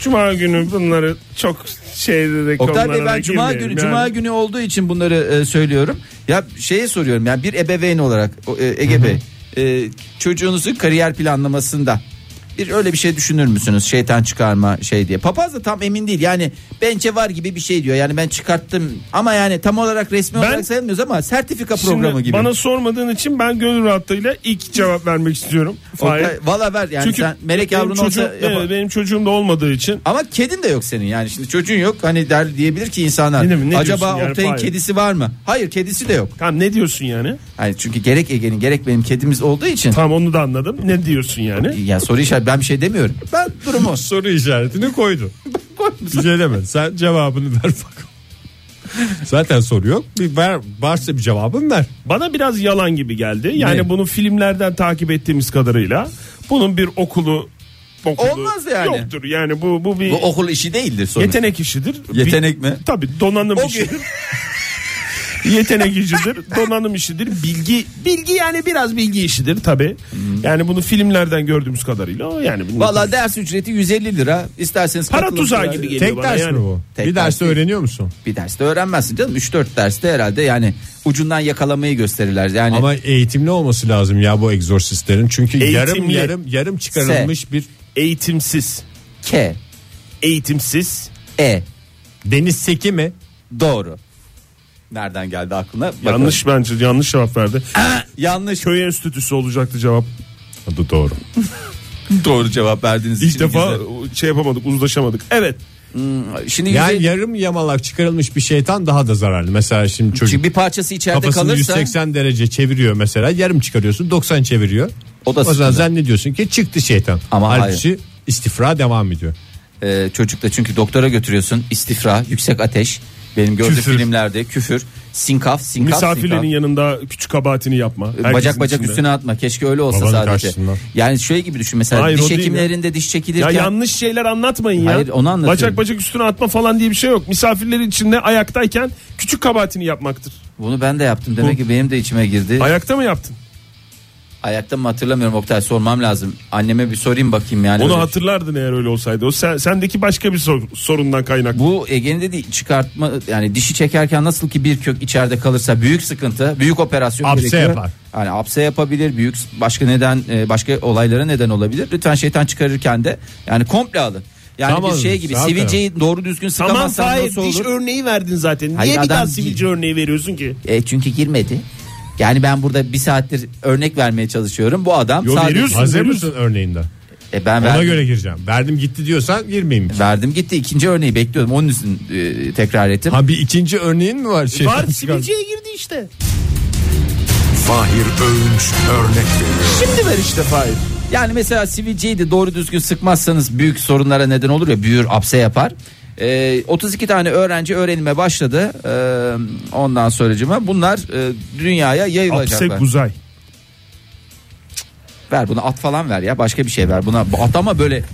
Cuma günü bunları çok şey dedik.
Oktay Bey
onlara da
ben cuma günü
girmeyelim
cuma
yani.
günü olduğu için bunları e, söylüyorum. Ya şeye soruyorum yani bir ebeveyn olarak o, e, Ege Bey e, çocuğunuzun kariyer planlamasında bir öyle bir şey düşünür müsünüz şeytan çıkarma şey diye. Papaz da tam emin değil yani bence var gibi bir şey diyor yani ben çıkarttım ama yani tam olarak resmi
Ben-
olarak sayılmıyoruz ama sertifika
Şimdi
programı gibi.
Bana sormadığın için ben gönül rahatlığıyla ilk cevap vermek istiyorum. Fahir.
Oktay, Valla ver yani sen melek
benim
yavrun
çocuğum-
olsa yapar.
evet, benim çocuğum da olmadığı için
Ama kedin de yok senin yani şimdi çocuğun yok hani der diyebilir ki insanlar
Ne demek, ne
acaba
diyorsun yani?
Oktay'ın
Hayır.
kedisi var mı? Hayır kedisi de yok.
tamam ne diyorsun yani?
Hani çünkü gerek Ege'nin gerek benim kedimiz olduğu için
Tamam onu da anladım. Ne diyorsun yani?
ya soru işareti ben bir şey demiyorum. Ben durumu
Soru işaretini koydu. Güzel hemen. Sen cevabını ver bakalım. Zaten soru yok. Bir ver, varsa bir cevabın ver.
Bana biraz yalan gibi geldi. Yani
Ne?
bunu filmlerden takip ettiğimiz kadarıyla bunun bir okulu, okulu
Olmaz yani.
Yoktur. Yani bu bu bir
bu okul işi değildir sonuç.
yetenek işidir.
Yetenek mi?
Tabii donanım
O
işidir. Yetenek işidir, donanım işidir, bilgi bilgi yani biraz bilgi işidir tabi.
Hmm.
Yani bunu filmlerden gördüğümüz kadarıyla o yani bilmiyorum.
Valla ders ücreti 150 lira. İsterseniz
Para
katılın.
tuzağı gibi geliyor.
Tek
bana
ders
yani.
mi bu?
Tek
bir
ders
derste
değil.
öğreniyor musun?
Bir derste öğrenmezsin canım. 3-4 derste herhalde yani ucundan yakalamayı gösterirler. Yani
Ama eğitimli olması lazım ya bu egzorsistlerin. Çünkü yarım
Eğitimli.
yarım yarım çıkarılmış bir
eğitimsiz,
K,
eğitimsiz,
E
deniz seki mi?
doğru. Nereden geldi aklına? Bakalım.
Yanlış bence yanlış cevap verdi.
Yanlış.
Köy enstitüsü olacaktı cevap.
Adı doğru.
Doğru cevap verdiğiniz
İlk
için.
defa
güzel.
şey yapamadık uzlaşamadık. Evet
Şimdi
Yani
yüzey-
yarım yamalak çıkarılmış bir şeytan daha da zararlı. Mesela şimdi çocuk
Çünkü bir parçası içeride
kafasını
kalırsa
180 derece çeviriyor mesela. Yarım çıkarıyorsun 90 çeviriyor.
O
O
da
da
sıkıntı.
zannediyorsun ki çıktı şeytan.
Ama
Ama
hayır.
Halbuki istifra devam ediyor.
e, çocukta çünkü doktora götürüyorsun istifra yüksek ateş benim gördüğüm
Küfür.
filmlerde küfür sinkaf sinkaf sinkaf.
misafirlerin yanında küçük kabahatini yapma.
bacak
Herkesin
bacak
içinde.
üstüne atma keşke öyle olsa
Babanın
sadece.
karşısında.
Yani şöyle gibi düşün mesela
Hayır, o
diş
değil
hekimlerinde diş
Ya
çekilirken
yanlış şeyler anlatmayın ya.
Hayır, onu anlatıyorum.
Bacak bacak üstüne atma falan diye bir şey yok. Misafirlerin içinde ayaktayken küçük kabahatini yapmaktır.
bunu ben de yaptım demek ki benim de içime girdi.
Ayakta mı yaptın?
Ayakta mı hatırlamıyorum Oktay sormam lazım. Anneme bir sorayım bakayım yani.
Onu
Öyle-
hatırlardın eğer öyle olsaydı. O sen, sendeki başka bir sor- sorundan kaynak.
Bu Ege'nin dediği çıkartma yani dişi çekerken nasıl ki bir kök içeride kalırsa büyük sıkıntı, büyük operasyon
Apse
gerekiyor.
yapar.
Yani apse yapabilir, büyük başka neden e, başka olaylara neden olabilir. Lütfen şeytan çıkarırken de yani komple alın. Yani
Tamam,
bir şey gibi
zaten.
sivilceyi doğru düzgün
Tamam
sıkamazsan
Fahir
nasıl olur?
diş örneği verdin zaten.
Hayır,
Niye bir daha
adam-
sivilce örneği veriyorsun ki?
E, çünkü girmedi. Yani ben burada bir saattir örnek vermeye çalışıyorum. Bu adam
Yo,
sadece
veriyorsun.
Hazır
Hazırız.
mısın örneğinde?
E, ben
Ona
verdim.
göre gireceğim. Verdim gitti diyorsan girmeyeyim.
Verdim gitti ikinci örneği bekliyordum onun için e, tekrar ettim.
Ha bir ikinci örneğin mi var? Şeytan
Var
çıkar-
sivilceye girdi işte.
Fahir Öğünç örnek veriyor.
Şimdi ver işte Fahir.
Yani mesela sivilceyi de doğru düzgün sıkmazsanız büyük sorunlara neden olur ya büyür apse yapar. Ee, 32 tane öğrenci öğrenime başladı. Ee, ondan sonracıma bunlar e, dünyaya
Apse
yayılacaklar.
Guzay.
ver bunu at falan ver ya başka bir şey ver buna. Bu At ama böyle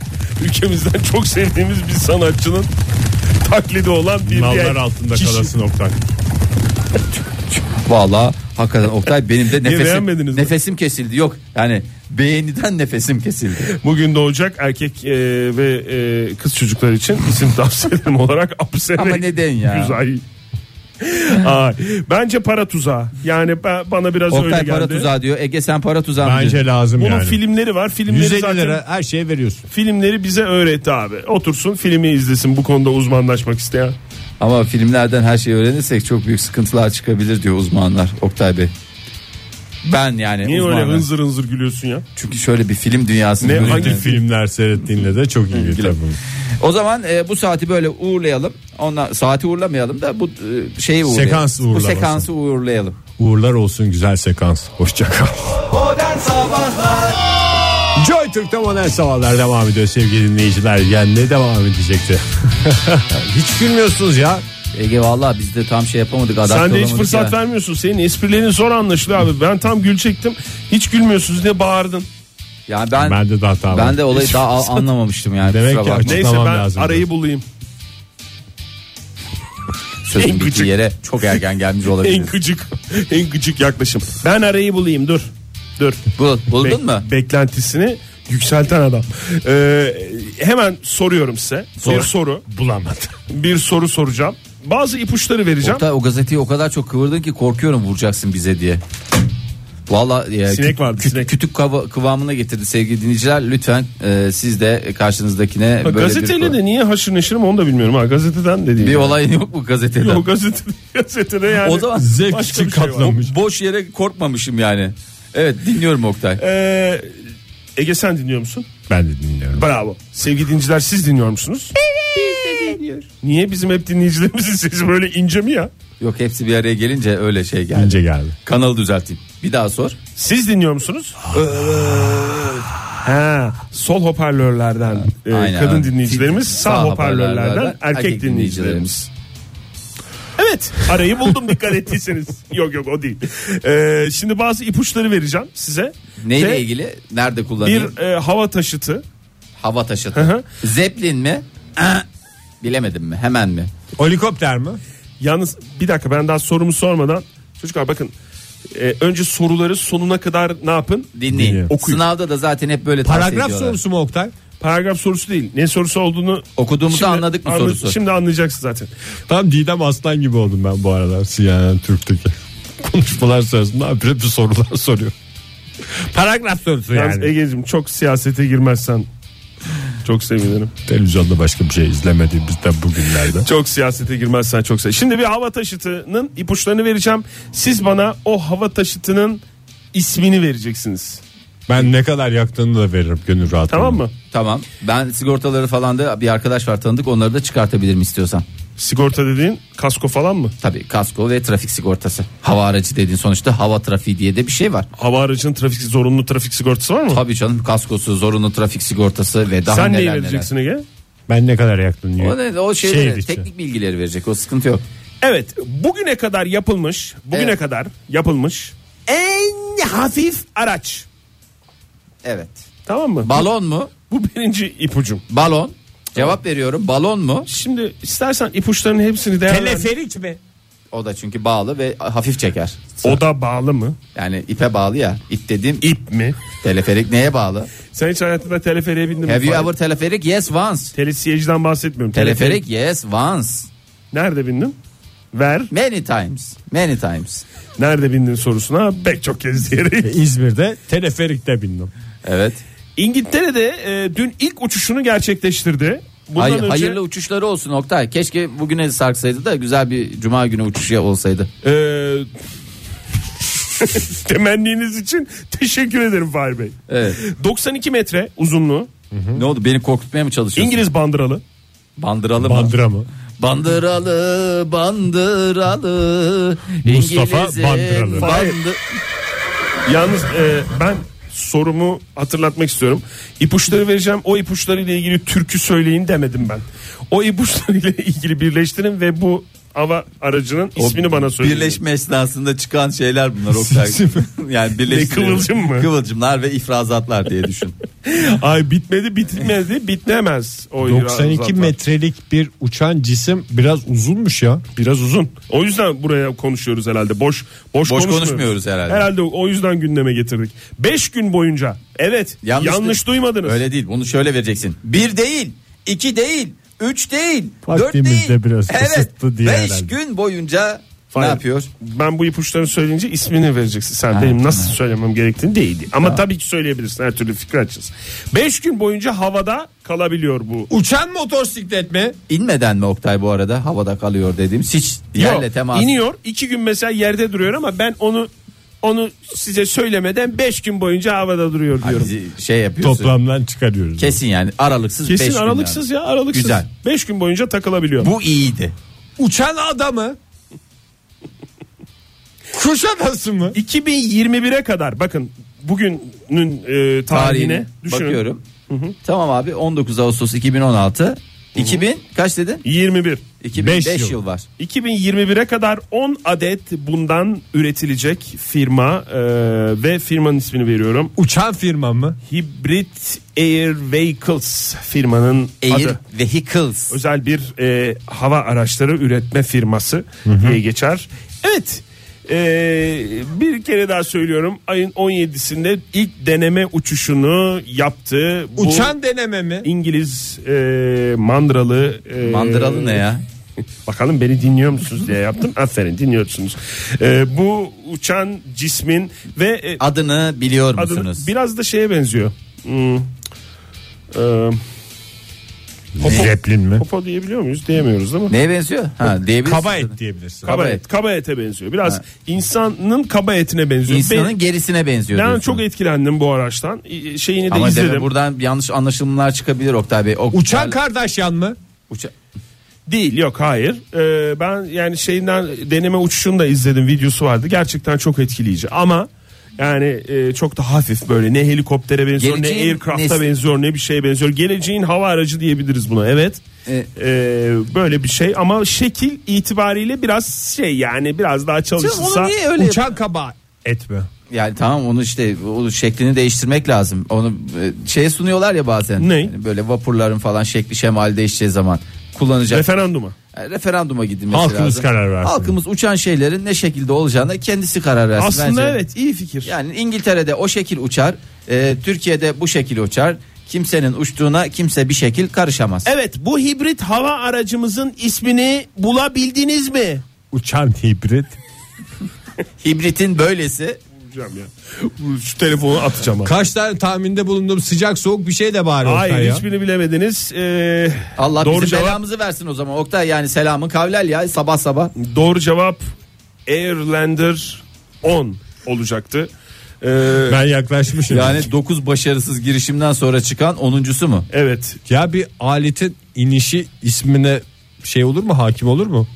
Ülkemizden çok sevdiğimiz bir sanatçının taklidi olan bir diğer
Nallar altında
kişi.
kalasın Oktay.
vallahi hakikaten Oktay benim de
beğenmediniz
nefesim
mi?
nefesim kesildi. Yok yani beğeniden nefesim kesildi.
Bugün doğacak erkek e, ve e, kız çocuklar için isim tavsiyem olarak Apse
Ama neden ya?
Güzel. Ay, bence para tuzağı. Yani ben, bana biraz öyle
Oktay
geldi.
para tuzağı diyor. Ege sen para tuzağı mı
Bence
diyorsun?
lazım
Bunun
yani.
filmleri var. Filmleri
150
zaten
lira her şeye veriyorsun.
filmleri bize öğretti abi. Otursun filmi izlesin bu konuda uzmanlaşmak isteyen.
Ama filmlerden her şeyi öğrenirsek çok büyük sıkıntılar çıkabilir diyor uzmanlar Oktay Bey. Ben yani
Niye
uzmanlar.
öyle hınzır hınzır gülüyorsun ya?
Çünkü şöyle bir film dünyası.
Ne,
görüyorum
hangi
yani.
Filmler seyrettiğinle de çok iyi tabii.
O zaman e, bu saati böyle uğurlayalım. Ondan saati uğurlamayalım da bu e, şeyi uğurlayalım.
Sekansı
Bu
uğurlaması.
sekansı uğurlayalım.
Uğurlar olsun güzel sekans. Hoşça kal.
Modern Sabahlar
Joy Türk'te modern sabahlar devam ediyor sevgili dinleyiciler. Yani ne devam edecekti? Hiç gülmüyorsunuz ya.
Ege vallahi biz de tam şey yapamadık.
Sen de hiç
adapte
fırsat
olamadık ya.
vermiyorsun. Senin esprilerin zor anlaşılıyor abi. Ben tam gülecektim. Hiç gülmüyorsunuz diye bağırdın.
Yani ben, ben
Ben
de,
de daha tamam.
olayı daha al- anlamamıştım yani.
Demek
Kusura
ki
bakma.
açık-
Neyse
Açıklamam
ben
lazım.
arayı bulayım. en
Sözün bittiği
küçük-
yere çok erken gelmiş
En
olabilir.
gıcık, en gıcık yaklaşım. Ben arayı bulayım dur. Dur.
Bul, buldun
Be-
mu?
Beklentisini yükselten adam. Ee, hemen soruyorum size. Bir soru.
bulamadım.
Bir soru soracağım. Bazı ipuçları vereceğim.
Oktay o gazeteyi o kadar çok kıvırdın ki korkuyorum vuracaksın bize diye. Valla e,
Sinek
küt-
vardı,
küt-
sinek.
kütük kava- kıvamına getirdi sevgili dinleyiciler. Lütfen e, siz de karşınızdakine
Ha,
böyle
gazeteyle
bir,
de niye haşır neşirim onu da bilmiyorum. Ha, gazeteden dediğim.
bir olay yok mu gazetede?
Yok gazete, gazetede yani.
o zaman
Zevk
Başka
için
bir şey var.
katlanmış.
boş yere korkmamışım yani. Evet dinliyorum Oktay.
Ee, Ege sen dinliyor musun?
Ben de dinliyorum.
Bravo. Sevgili dinleyiciler siz dinliyor musunuz? Evet. Niye bizim hep dinleyicilerimizin sesi böyle ince mi ya?
Yok hepsi bir araya gelince öyle şey geldi.
Bence geldi.
Kanalı düzelteyim. Bir daha sor.
Siz dinliyor musunuz? Ha, sol hoparlörlerden e,
Aynen.
kadın dinleyicilerimiz, sağ,
Sağ
hoparlörlerden,
hoparlörlerden
erkek,
erkek
dinleyicilerimiz. Evet, arayı buldum dikkat ettiyseniz. Yok yok o değil. Ee, şimdi bazı ipuçları vereceğim size.
Neyle
Ve
ilgili? Nerede kullanayım?
Şey, Bir e, hava taşıtı.
Hava
hı.
taşıtı. Zeplin mi? Ah, Bilemedim mi? Hemen mi?
Helikopter mi?
Yalnız bir dakika ben daha sorumu sormadan çocuklar bakın e, önce soruları sonuna kadar ne yapın?
Dinleyin.
Dinliyorum.
Okuyun.
Sınavda da zaten hep böyle tavsiye
Paragraf
ediyorlar.
sorusu mu Oktay?
Paragraf sorusu değil. Ne sorusu olduğunu
Okuduğumuzu anladık mı
anla-
sorusu?
Şimdi anlayacaksın zaten.
Tam Didem Aslan gibi oldum ben bu aralar CNN Türk'teki. Konuşmalar sırasında hep bir sorular soruyor. Paragraf sorusu
Yalnız Ege'cim çok siyasete girmezsen Çok sevinirim.
Televizyonda başka bir şey izlemediğimizden bugünlerde.
Çok siyasete girmezsen çok sev. Şimdi bir hava taşıtının ipuçlarını vereceğim. Siz bana o hava taşıtının ismini vereceksiniz.
Ben ne kadar yaktığını da veririm gönül rahatlığına.
Tamam mı?
Tamam. Ben sigortaları falan da bir arkadaş var tanıdık. Onları da çıkartabilirim istiyorsan.
Sigorta dediğin kasko falan mı?
Tabii kasko ve trafik sigortası. Hava aracı dediğin sonuçta hava trafiği diye de bir şey var.
Hava aracının trafik zorunlu trafik sigortası var mı?
Tabii canım kaskosu, zorunlu trafik sigortası ve daha
Sen neyi
neler neler.
vereceksin Ege?
Ben ne kadar yaktığını
O, ne, o şeyleri,
Şehir içi.
teknik bilgileri verecek. O sıkıntı yok.
Evet bugüne kadar yapılmış bugüne
Evet.
kadar yapılmış en hafif araç.
Evet.
Tamam mı?
Balon mu?
Bu birinci ipucum.
Balon. Cevap veriyorum. Balon mu?
Şimdi istersen ipuçlarının hepsini değerlendir.
mi?
O da çünkü bağlı ve hafif çeker.
O da bağlı mı?
Yani ipe bağlı ya. İp dediğim
İp mi?
teleferik neye bağlı?
Sen hiç hayatında teleferiğe bindin mi?
Have you
Fahir?
ever teleferik? Yes once.
Telesiyeciden bahsetmiyorum. Teleferik.
Teleferik yes once.
Nerede bindin? Ver.
Many times. Many times.
Nerede bindin sorusuna pek çok kez diyerek.
E, İzmir'de teleferikte bindim.
Evet.
İngiltere'de e, dün ilk uçuşunu gerçekleştirdi. Bundan
Hay-
önce
Hayırlı uçuşları olsun Oktay. Keşke bugüne sarksaydı da güzel bir cuma günü uçuşu olsaydı.
e, temenniniz için teşekkür ederim Fahir Bey.
Evet.
92 metre uzunluğu.
Ne oldu? Beni korkutmaya mı çalışıyorsun?
İngiliz bandıralı.
bandıralı mı?
Bandıra mı?
Bandıralı, bandıralı.
Mustafa
İngiliz'in
Bandıralı.
bandı-
Yalnız e, ben sorumu hatırlatmak istiyorum. İpuçları vereceğim. O ipuçları ile ilgili türkü söyleyin demedim ben. O ipuçları ile ilgili birleştirin ve bu hava aracının
O
ismini bana söyleyin.
Birleşme esnasında çıkan şeyler bunlar Oktay. yani birleşme.
Ne, kıvılcım mı?
Kıvılcımlar ve ifrazatlar diye düşün.
Ay bitmedi, bitmedi, bitmez. O
92
zaten.
metrelik bir uçan cisim biraz uzunmuş ya.
biraz uzun. O yüzden buraya konuşuyoruz herhalde. Boş boş,
Boş konuşmuyoruz herhalde.
Herhalde o yüzden gündeme getirdik. 5 gün boyunca. Evet. Yanlış,
Yanlış-
duymadınız.
Öyle değil bunu şöyle vereceksin. Bir değil, iki değil, üç değil, dört
Vaktimiz
değil.
de biraz
evet,
kısıtlı diye
beş
herhalde.
gün boyunca
Hayır.
ne yapıyor?
Ben bu ipuçlarını söyleyince ismini vereceksin. Sen benim nasıl söylemem gerektiğini değil. Ama tabii ki söyleyebilirsin. Her türlü fikri açacağız. 5 gün boyunca havada kalabiliyor bu.
Uçan motosiklet mi?
İnmeden mi Oktay bu arada havada kalıyor dediğim hiç yerle
Yok,
temas.
iniyor. 2 gün mesela yerde duruyor ama ben onu onu size söylemeden 5 gün boyunca havada duruyor
Ha,
diyorum.
bizi şey yapıyorsun.
Toplamdan çıkarıyoruz.
Kesin yani aralıksız beş
Kesin
gün
aralıksız
yani.
ya aralıksız.
Güzel.
5 gün boyunca takılabiliyor.
Bu iyiydi.
Uçan adamı. Kuşadası mı?
2021'e kadar bakın bugünün e, tarihine
Tarihine
düşünün.
bakıyorum. Tamam abi 19 Ağustos 2016. 2000 kaç dedin?
21.
2005 yıl.
Beş yıl.
yıl var.
2021'e kadar 10 adet bundan üretilecek firma e, ve firmanın ismini veriyorum.
Uçan firma mı?
Hybrid Air Vehicles firmanın
Air
adı.
Vehicles.
Özel bir e, hava araçları üretme firması diye geçer. Evet. e, bir kere daha söylüyorum. Ayın 17'sinde ilk deneme uçuşunu yaptı. Bu
Uçan deneme mi?
İngiliz e, mandralı e,
Mandıralı ne ya?
Bakalım beni dinliyor musunuz diye yaptım. Aferin dinliyorsunuz. Ee, bu uçan cismin ve e,
Adını biliyor
adını-
musunuz?
biraz da şeye benziyor. Hmm. Ee,
Zeplin mi?
popo diyebiliyor muyuz? Diyemiyoruz ama.
Neye benziyor? Ha, diyebilirsin.
Kaba et diyebilirsin.
Kaba
Kaba
et.
et.
Kaba ete benziyor. Biraz insanın kaba etine benziyor.
İnsanın
Ben-
gerisine benziyor.
ben
diyorsun.
çok etkilendim bu araçtan. İ- Şeyini de
Ama
izledim.
demek buradan yanlış anlaşılmalar çıkabilir Oktay Bey. Oktay-
Uçan kardeş yan mı?
Uça-
Değil yok hayır. Ee, ben yani şeyinden deneme uçuşunu da izledim videosu vardı. Gerçekten çok etkileyici ama yani e, çok da hafif böyle ne helikoptere benziyor ne
Geleceğin
aircraft'a
nesli.
benziyor ne bir şeye benziyor. Geleceğin hava aracı diyebiliriz buna evet.
Evet.
Ee, böyle bir şey ama şekil itibariyle biraz şey yani biraz daha çalışılsa.
Uçan kaba et mi?
Yani tamam onu işte o şeklini değiştirmek lazım. Onu e, şeye sunuyorlar ya bazen.
Ney?
Yani böyle vapurların falan şekli şemali değişeceği zaman kullanacak.
Referanduma.
Yani referanduma gidilmesi
Halkımız
lazım.
karar versin.
Halkımız uçan şeylerin ne şekilde olacağına kendisi karar versin.
Aslında
Bence-
evet iyi fikir.
Yani İngiltere'de o şekil uçar. e, Türkiye'de bu şekil uçar. Kimsenin uçtuğuna kimse bir şekil karışamaz.
Evet bu hibrit hava aracımızın ismini bulabildiniz mi?
Uçan hibrit.
Hibritin böylesi
yapacağım ya. Bu- Şu telefonu atacağım. ha.
Kaç tane tahminde bulundum sıcak soğuk bir şey de bari Oktay
Hayır
ya.
hiçbirini bilemediniz. Ee,
Allah
doğru
bizim
cevap,
belamızı versin o zaman. Oktay yani selamın kavlel ya sabah sabah.
Doğru cevap Airlander 10 olacaktı. Ee,
Ben yaklaşmışım.
Yani 9 başarısız girişimden sonra çıkan 10.sü mu?
Evet.
Ya bir aletin inişi ismine şey olur mu hakim olur mu?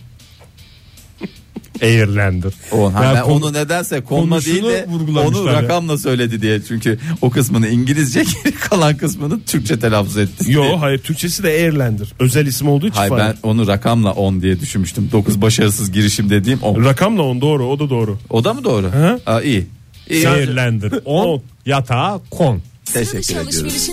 Airlander.
O, ha,
Ya
ben
kon-
onu nedense konma
konusunu
değil de onu
vurgulamışlar ya.
rakamla söyledi diye. Çünkü o kısmını İngilizce geri kalan kısmını Türkçe telaffuz etti.
Yo hayır Türkçesi de Airlander. Özel isim olduğu için.
Hayır
falan.
ben onu rakamla 10 diye düşünmüştüm. 9 başarısız girişim dediğim 10.
Rakamla 10 doğru o da doğru.
O da mı doğru? Aa, iyi. İyi.
Airlander. On yatağa kon.
Teşekkür ediyoruz.